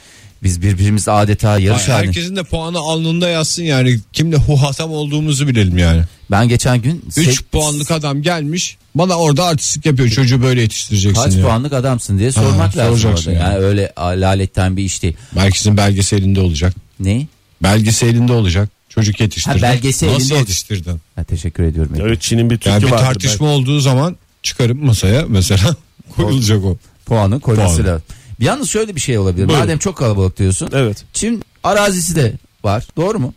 Speaker 4: Biz birbirimizle adeta yarış halinde.
Speaker 3: Herkesin de puanı alnında yazsın yani kimle huhatam olduğumuzu bilelim yani.
Speaker 4: Ben geçen gün
Speaker 3: 3
Speaker 4: sek-
Speaker 3: puanlık adam gelmiş bana orada artistlik yapıyor çocuğu böyle yetiştireceksin
Speaker 4: kaç
Speaker 3: ya.
Speaker 4: puanlık adamsın diye sormak lazım.
Speaker 3: soracaksın
Speaker 4: orada. Yani.
Speaker 3: yani.
Speaker 4: öyle laletten bir iş değil.
Speaker 3: Herkesin belgesi elinde olacak.
Speaker 4: Ne?
Speaker 3: Belgesi elinde olacak. Çocuk yetiştirdin.
Speaker 4: Ha, belgesi
Speaker 3: Nasıl
Speaker 4: elinde olacak.
Speaker 3: yetiştirdin?
Speaker 4: Ha, teşekkür ediyorum. Ege.
Speaker 5: Evet Çin'in bir
Speaker 3: Yani
Speaker 5: türkü
Speaker 3: bir
Speaker 5: vardı.
Speaker 3: tartışma olduğu zaman çıkarıp masaya mesela koyulacak o.
Speaker 4: Puanı koyması
Speaker 3: Puanı.
Speaker 4: lazım. Yalnız şöyle bir şey olabilir.
Speaker 5: Buyurun.
Speaker 4: Madem çok kalabalık diyorsun.
Speaker 5: Evet.
Speaker 4: Çin arazisi de var. Doğru mu?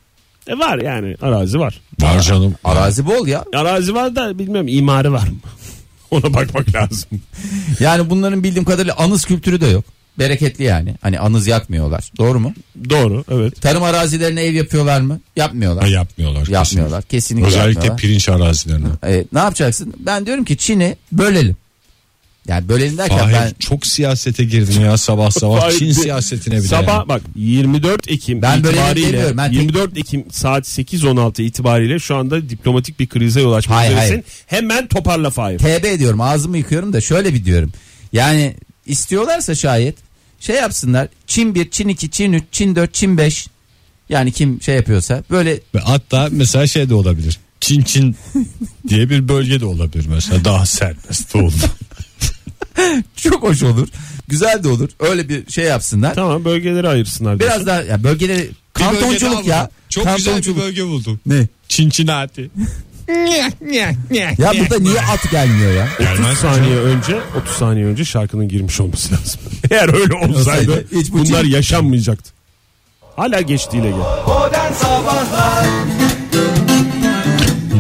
Speaker 5: E var yani arazi var.
Speaker 3: Var canım.
Speaker 4: Arazi bol ya.
Speaker 5: Arazi var da bilmem imarı var mı? Ona bakmak lazım.
Speaker 4: Yani bunların bildiğim kadarıyla anız kültürü de yok. Bereketli yani. Hani anız yakmıyorlar. Doğru mu?
Speaker 5: Doğru evet.
Speaker 4: Tarım arazilerine ev yapıyorlar mı? Yapmıyorlar.
Speaker 3: Ha, yapmıyorlar. kesin.
Speaker 4: yapmıyorlar. Kesinlikle
Speaker 3: Özellikle
Speaker 4: yapmıyorlar.
Speaker 3: pirinç arazilerine.
Speaker 4: E, ne yapacaksın? Ben diyorum ki Çin'i bölelim. Yani bölelim derken
Speaker 3: Fahir
Speaker 4: ben
Speaker 3: çok siyasete girdin ya sabah
Speaker 4: Ah,
Speaker 3: sabah.
Speaker 5: Fahir,
Speaker 3: Çin
Speaker 5: bu-
Speaker 3: siyasetine bile.
Speaker 5: Sabah
Speaker 3: yani.
Speaker 5: bak 24 Ekim
Speaker 4: Ben böyle
Speaker 5: itibariyle
Speaker 4: demiyorum, ben tek-
Speaker 5: 24 Ekim saat 8.16 itibariyle şu anda diplomatik bir krize yol açmak
Speaker 4: Hayır,
Speaker 5: üzeresin.
Speaker 4: hayır.
Speaker 5: Hemen toparla Fahir.
Speaker 4: TB ediyorum ağzımı yıkıyorum da şöyle bir diyorum. Yani istiyorlarsa şayet şey yapsınlar. Çin 1, Çin 2, Çin 3, Çin 4, Çin 5. Yani kim şey yapıyorsa böyle
Speaker 3: Ve Hatta mesela şey de olabilir. Çin Çin diye bir bölge de olabilir mesela. Daha serbest oldu.
Speaker 4: çok hoş olur. Güzel de olur. Öyle bir şey yapsınlar.
Speaker 5: Tamam bölgeleri ayırsınlar.
Speaker 4: Biraz
Speaker 5: diyorsun.
Speaker 4: daha ya bölgeleri kantonculuk ya.
Speaker 3: Çok güzel bir
Speaker 4: Kantonculuk.
Speaker 3: bölge buldum.
Speaker 4: Ne?
Speaker 3: Cincinnati.
Speaker 4: Ya burada niye at gelmiyor ya?
Speaker 5: 30 saniye önce 30 saniye önce şarkının girmiş olması lazım. Eğer öyle olsaydı
Speaker 4: Olsaydı hiç bu
Speaker 5: bunlar
Speaker 4: Çin-
Speaker 5: yaşanmayacaktı. Hala geçtiğiyle gel.
Speaker 2: Modern Sabahlar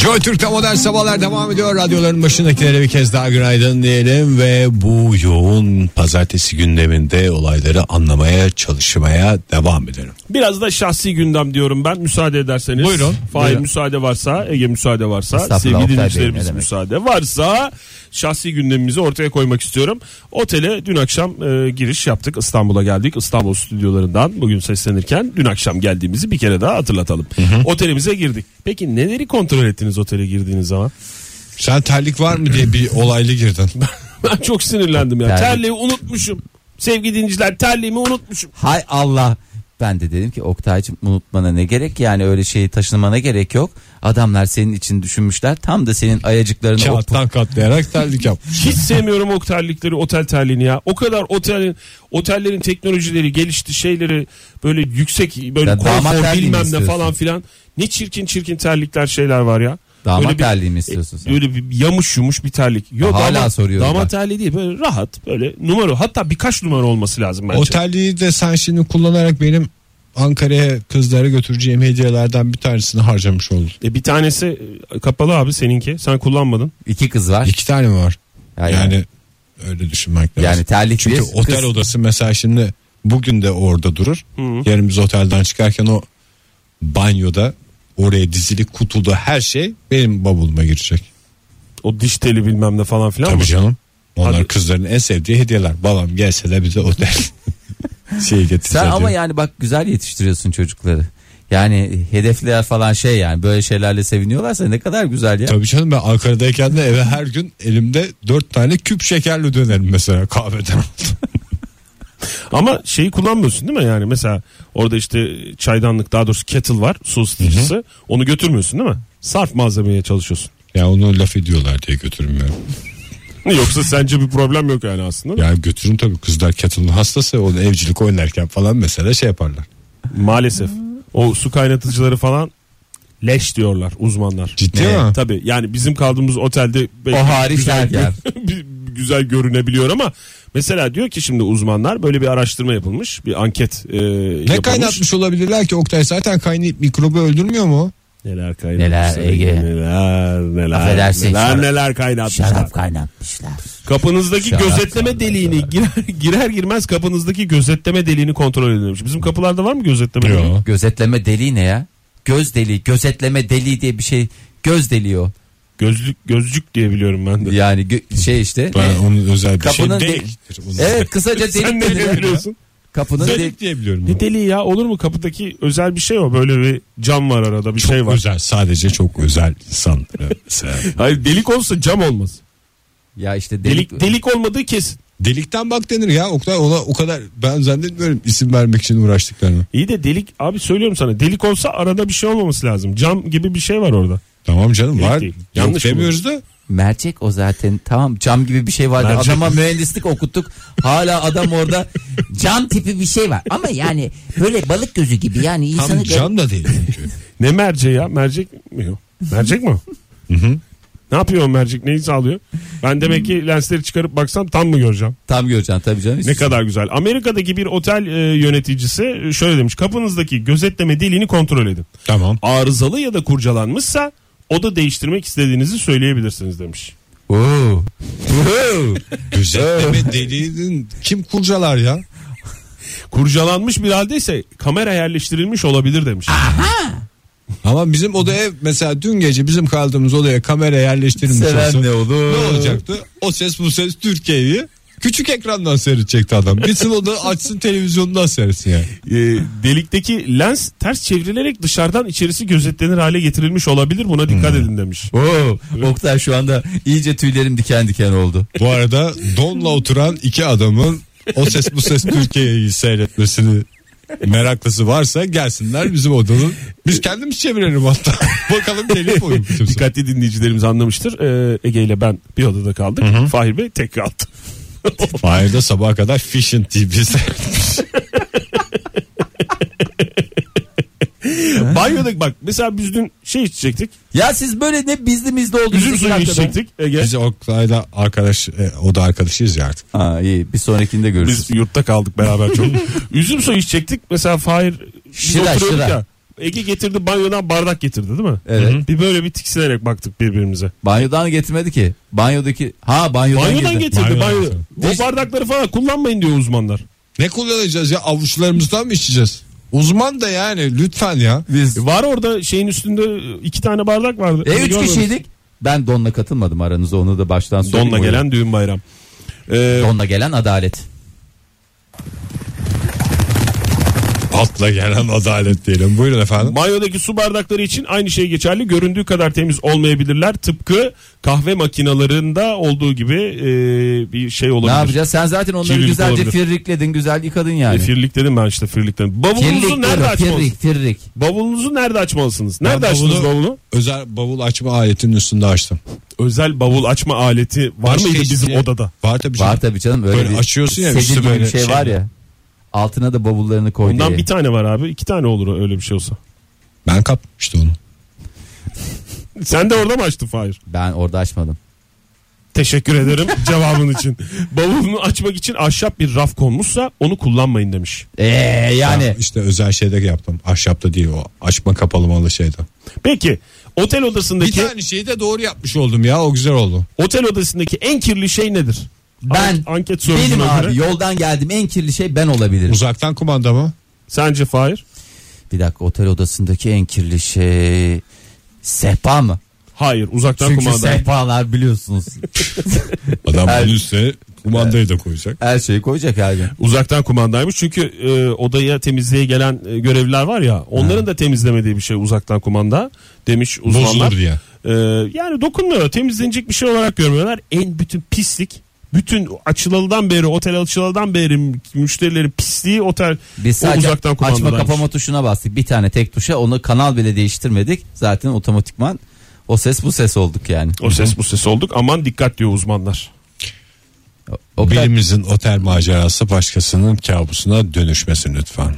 Speaker 3: Joy Türk'te modern sabahlar devam ediyor. Radyoların başındakilere bir kez daha günaydın diyelim ve bu yoğun pazartesi gündeminde olayları anlamaya çalışmaya devam edelim.
Speaker 5: Biraz da şahsi gündem diyorum ben müsaade ederseniz.
Speaker 3: Buyurun.
Speaker 5: Fahir
Speaker 3: Buyurun.
Speaker 5: müsaade varsa, Ege müsaade varsa,
Speaker 4: Estağfurullah,
Speaker 5: sevgili
Speaker 4: Oktay Bey, ne
Speaker 5: dinleyicilerimiz
Speaker 4: demek.
Speaker 5: müsaade varsa şahsi gündemimizi ortaya koymak istiyorum. Otele dün akşam e, giriş yaptık. İstanbul'a geldik. İstanbul stüdyolarından bugün seslenirken dün akşam geldiğimizi bir kere daha hatırlatalım. Otelimize girdik. Peki neleri kontrol ettiniz otele girdiğiniz zaman?
Speaker 3: Sen terlik var mı diye bir olaylı girdin.
Speaker 5: Ben çok sinirlendim ya.
Speaker 4: Terlik.
Speaker 5: Terliği unutmuşum. Sevgili dinleyiciler terliğimi unutmuşum.
Speaker 4: Hay Allah. Ben de dedim ki Oktay'cım unutmana ne gerek yani öyle şeyi taşınmana gerek yok. Adamlar senin için düşünmüşler tam da senin ayacıklarını o
Speaker 3: Kağıttan katlayarak terlik yapmış.
Speaker 5: Hiç sevmiyorum o terlikleri, otel terliğini ya. O kadar otelin otellerin teknolojileri gelişti, şeyleri böyle yüksek böyle
Speaker 4: Ya damat
Speaker 5: konfor
Speaker 4: terliği mi
Speaker 5: bilmem ne
Speaker 4: istiyorsun?
Speaker 5: falan filan. Ne çirkin çirkin terlikler şeyler var ya.
Speaker 4: Damat
Speaker 5: Böyle bir- e,
Speaker 4: terliği mi istiyorsun sen?
Speaker 5: Böyle bir yamış yumuş bir terlik. Yok
Speaker 4: Hala
Speaker 5: damat,
Speaker 4: soruyorum
Speaker 5: Damat
Speaker 4: bak.
Speaker 5: terliği değil böyle rahat böyle numara hatta birkaç numara olması lazım bence.
Speaker 3: O terliği de sen şimdi kullanarak benim Ankara'ya kızlara götüreceğim hediyelerden bir tanesini harcamış oldun.
Speaker 5: E, bir tanesi e, kapalı abi seninki. Sen kullanmadın.
Speaker 4: iki kız var.
Speaker 3: İki tane mi var?
Speaker 4: Yani,
Speaker 3: Yani,
Speaker 4: yani,
Speaker 3: öyle düşünmek lazım.
Speaker 4: terlik
Speaker 3: Çünkü
Speaker 4: bir
Speaker 3: otel
Speaker 4: kız.
Speaker 3: odası mesela şimdi bugün de orada durur. Yarın biz otelden çıkarken o banyoda oraya dizili kutuda her şey benim bavuluma girecek.
Speaker 5: O diş teli bilmem ne falan filan.
Speaker 3: Tabii
Speaker 5: mı?
Speaker 3: canım. Onlar
Speaker 5: Hadi.
Speaker 3: kızların en sevdiği hediyeler. Babam gelse de bize otel şey getirse.
Speaker 4: Sen ama
Speaker 3: diyor.
Speaker 4: yani bak güzel yetiştiriyorsun çocukları. Yani hedefler falan şey yani böyle şeylerle seviniyorlarsa ne kadar güzel ya.
Speaker 3: Tabii canım ben Ankara'dayken de eve her gün elimde dört tane küp şekerli dönerim mesela kahveden.
Speaker 5: Ama şeyi kullanmıyorsun değil mi yani mesela orada işte çaydanlık daha doğrusu kettle var su ısıtıcısı onu götürmüyorsun değil mi? Sarf malzemeye çalışıyorsun.
Speaker 3: ya onu laf ediyorlar diye götürmüyorum.
Speaker 5: Yoksa sence bir problem yok yani aslında.
Speaker 3: Ya götürün tabii kızlar kettle'ın hastası onu evcilik oynarken falan mesela şey yaparlar.
Speaker 5: Maalesef o su kaynatıcıları falan leş diyorlar uzmanlar.
Speaker 3: Ciddi
Speaker 5: Evet,
Speaker 3: mi?
Speaker 5: Tabii yani bizim kaldığımız otelde belki
Speaker 4: O hariç
Speaker 5: güzel,
Speaker 4: yer.
Speaker 5: bir- güzel görünebiliyor ama mesela diyor ki şimdi uzmanlar böyle bir araştırma yapılmış bir anket e,
Speaker 3: Ne
Speaker 5: yapılmış.
Speaker 3: kaynatmış olabilirler ki Oktay zaten kaynayıp mikrobu öldürmüyor mu?
Speaker 5: Neler
Speaker 4: Neler
Speaker 5: kaynatmışlar.
Speaker 4: Ege.
Speaker 5: Neler neler.
Speaker 4: Affedersin,
Speaker 5: neler
Speaker 4: şarap-
Speaker 5: neler kaynatmışlar.
Speaker 4: Şarap kaynatmışlar.
Speaker 5: Kapınızdaki
Speaker 4: Şarap
Speaker 5: gözetleme
Speaker 4: sandım,
Speaker 5: deliğini girer, girer girmez kapınızdaki gözetleme deliğini kontrol edilmiş. Bizim kapılarda var mı gözetleme deliği?
Speaker 4: Gözetleme deliği ne ya? Göz deliği, gözetleme deliği diye bir şey. Göz deliği o.
Speaker 5: Gözlük gözlük diye biliyorum ben de.
Speaker 4: Yani gö- şey işte.
Speaker 3: Ben
Speaker 4: ne?
Speaker 3: onun özel bir
Speaker 4: Kapının
Speaker 3: şey
Speaker 4: de-
Speaker 3: deliktir. Onun-
Speaker 4: Evet kısaca delik
Speaker 5: Sen ne
Speaker 4: dedi ya.
Speaker 5: diye biliyorsun?
Speaker 4: Kapının delik.
Speaker 3: Delik diye biliyorum.
Speaker 5: Ne deliği ya olur mu kapıdaki özel bir şey o böyle bir cam var arada bir
Speaker 3: Çok
Speaker 5: şey var.
Speaker 3: özel sadece çok özel insan. Mesela.
Speaker 5: Hayır delik olsa cam olmaz.
Speaker 4: Ya işte delik.
Speaker 5: Delik delik olmadığı kesin.
Speaker 3: Delikten bak denir ya Oktay ona o kadar ben zannetmiyorum isim vermek için uğraştıklarını.
Speaker 5: İyi de delik abi söylüyorum sana delik olsa arada bir şey olmaması lazım. Cam gibi bir şey var orada.
Speaker 3: Tamam canım
Speaker 5: Delik
Speaker 3: var.
Speaker 5: değil. Yanlış
Speaker 3: Yanlış demiyoruz da.
Speaker 4: Mercek o zaten. Tamam cam gibi bir şey vardı.
Speaker 5: Mercek.
Speaker 4: Adama mühendislik okuttuk. Hala adam orada cam tipi bir şey var. Ama yani böyle balık gözü gibi yani
Speaker 3: Tam
Speaker 4: insanı
Speaker 3: cam da değil. çünkü.
Speaker 5: Ne merceği ya? Mercek mi? Yok. Mercek mi? o? ne yapıyor o mercek? Neyi sağlıyor? Ben demek ki lensleri çıkarıp baksam tam mı göreceğim?
Speaker 4: tam göreceksin tabii canım.
Speaker 5: Ne kadar güzel. Amerika'daki bir otel e, yöneticisi e, şöyle demiş. Kapınızdaki gözetleme deliğini kontrol edin.
Speaker 3: tamam.
Speaker 5: Arızalı ya da kurcalanmışsa o da değiştirmek istediğinizi söyleyebilirsiniz demiş.
Speaker 4: Oo.
Speaker 3: Gözetleme deliğinin kim kurcalar ya?
Speaker 5: Kurcalanmış bir haldeyse kamera yerleştirilmiş olabilir demiş.
Speaker 3: Ama bizim odaya mesela dün gece bizim kaldığımız odaya kamera yerleştirilmiş
Speaker 4: Seven
Speaker 3: olsa
Speaker 4: ne olur?
Speaker 3: ne olacaktı? O ses bu ses Türkiye'yi küçük ekrandan seyredecekti adam. Gitsin oda açsın televizyondan seyretsin yani.
Speaker 5: E, delikteki lens ters çevrilerek dışarıdan içerisi gözetlenir hale getirilmiş olabilir. Buna dikkat edin demiş.
Speaker 4: Oo. Oktay şu anda iyice tüylerim diken diken oldu.
Speaker 3: Bu arada donla oturan iki adamın o ses bu ses Türkiye'yi seyretmesini meraklısı varsa gelsinler bizim odanın. Biz kendimiz çevirelim hatta. Bakalım telif olur mu kimse.
Speaker 5: Dikkatli dinleyicilerimiz anlamıştır. Ee, Ege ile ben bir odada kaldık. Fahir Bey tek kaldı.
Speaker 3: Fahir de sabaha kadar Fission TV seyretti.
Speaker 4: Şey-
Speaker 5: Banyoda bak mesela biz dün şey içecektik.
Speaker 4: Ya siz böyle ne bizli mizli oldunuz.
Speaker 5: Üzüm
Speaker 4: iki
Speaker 5: suyu
Speaker 4: dakikada.
Speaker 5: içecektik. Ege.
Speaker 3: Biz Oktay'la arkadaş, e, o da arkadaşıyız ya artık.
Speaker 4: Ha iyi bir sonrakinde görüşürüz.
Speaker 5: Biz yurtta kaldık beraber çok. Üzüm suyu içecektik. Mesela Fahir biz
Speaker 4: Şıra,
Speaker 5: oturuyorduk
Speaker 4: şıra.
Speaker 5: ya. Ege getirdi banyodan bardak getirdi değil mi?
Speaker 4: Evet.
Speaker 5: Hı hı. Bir böyle bir tiksinerek baktık birbirimize.
Speaker 4: Banyodan getirmedi ki. Banyodaki ha banyodan,
Speaker 5: Banyodan
Speaker 4: getirdi.
Speaker 5: getirdi.
Speaker 3: Banyodan
Speaker 5: Banyo. O bardakları falan kullanmayın diyor uzmanlar.
Speaker 3: Ne kullanacağız ya avuçlarımızdan mı içeceğiz? Uzman da yani lütfen ya.
Speaker 4: Biz
Speaker 5: E, Var orada şeyin üstünde iki tane bardak vardı.
Speaker 4: e, üç
Speaker 5: Görmedim.
Speaker 4: kişiydik. Ben donla katılmadım aranızda onu da baştan söyleyeyim.
Speaker 5: Donla
Speaker 4: Buyurun.
Speaker 5: gelen düğün bayram. Ee,
Speaker 4: donla gelen adalet.
Speaker 3: Atla gelen adalet diyelim. Buyurun efendim.
Speaker 5: Banyodaki su bardakları için aynı şey geçerli. Göründüğü kadar temiz olmayabilirler. Tıpkı kahve makinalarında olduğu gibi e, bir şey olabilir.
Speaker 4: Ne yapacağız? Sen zaten onları
Speaker 5: Kirlilik
Speaker 4: güzelce
Speaker 5: olabilir.
Speaker 4: firrikledin, güzel yıkadın yani.
Speaker 5: E, firlik dedim ben işte firlik dedim. Bavulunuzu
Speaker 4: Firrik
Speaker 5: nerede
Speaker 4: diyorum,
Speaker 5: açmalısınız?
Speaker 4: firrik, firrik.
Speaker 5: Bavulunuzu nerede açmalısınız? Nerede
Speaker 3: Ben
Speaker 5: açtınız
Speaker 3: bavulu-
Speaker 5: bavulu?
Speaker 3: Özel bavul açma aletinin üstünde açtım.
Speaker 5: Özel bavul açma aleti var
Speaker 3: Başka
Speaker 5: mıydı
Speaker 3: hiçbir
Speaker 5: bizim
Speaker 3: şey-
Speaker 5: odada?
Speaker 3: Var tabii
Speaker 4: Var
Speaker 3: canım.
Speaker 4: tabii canım öyle
Speaker 3: Böyle
Speaker 4: bir
Speaker 3: açıyorsun ya,
Speaker 4: sedir
Speaker 3: üstü
Speaker 4: gibi
Speaker 3: böyle
Speaker 4: bir şey
Speaker 3: şey
Speaker 4: var ya. Altına da bavullarını koy
Speaker 5: Bundan
Speaker 4: diye.
Speaker 5: bir tane var abi. iki tane olur öyle bir şey olsa.
Speaker 3: Ben kapmıştı onu.
Speaker 5: Sen de orada mı açtın Fahir?
Speaker 4: Ben orada açmadım.
Speaker 5: Teşekkür ederim cevabın için. Bavulunu açmak için ahşap bir raf konmuşsa onu kullanmayın demiş.
Speaker 4: Ee, yani
Speaker 3: İşte özel şeyde yaptım. Ahşapta değil o. Açma kapalamalı şeyde.
Speaker 5: Peki otel
Speaker 3: Bir
Speaker 5: odasındaki
Speaker 3: tane şeyi de doğru yapmış oldum ya. O güzel oldu.
Speaker 5: otel odasındaki en kirli şey nedir?
Speaker 4: ben
Speaker 5: An- anket
Speaker 4: benim
Speaker 5: sorusuna
Speaker 4: abi
Speaker 5: göre.
Speaker 4: yoldan geldim en kirli şey ben olabilirim.
Speaker 3: Uzaktan kumanda mı?
Speaker 5: Sence Fahir?
Speaker 4: Bir dakika otel odasındaki en kirli şey sehpa mı?
Speaker 5: Hayır uzaktan
Speaker 4: Çünkü
Speaker 5: kumanda.
Speaker 4: sehpalar biliyorsunuz.
Speaker 3: Adam
Speaker 4: Evet.
Speaker 3: bunun üstüne kumandayı da koyacak.
Speaker 4: Her şeyi koyacak abi.
Speaker 5: Uzaktan kumandaymış çünkü e, odaya temizliğe gelen e, görevliler var ya onların da temizlemediği bir şey uzaktan kumanda demiş uzmanlar.
Speaker 3: Bozulur diye.
Speaker 5: E, yani dokunmuyor temizlenecek bir şey olarak görmüyorlar. En bütün pislik bütün açılalıdan beri otel açılalıdan beri müşterilerin pisliği otel
Speaker 4: Biz
Speaker 5: o
Speaker 4: sadece
Speaker 5: uzaktan
Speaker 4: açma
Speaker 5: kumandadaymış.
Speaker 4: kapama tuşuna bastık. Bir tane tek tuşa onu kanal bile değiştirmedik. Zaten otomatikman o ses bu ses olduk yani.
Speaker 5: O ses bu ses olduk aman dikkat diyor uzmanlar.
Speaker 4: O
Speaker 3: Birimizin otel macerası başkasının kabusuna dönüşmesin lütfen.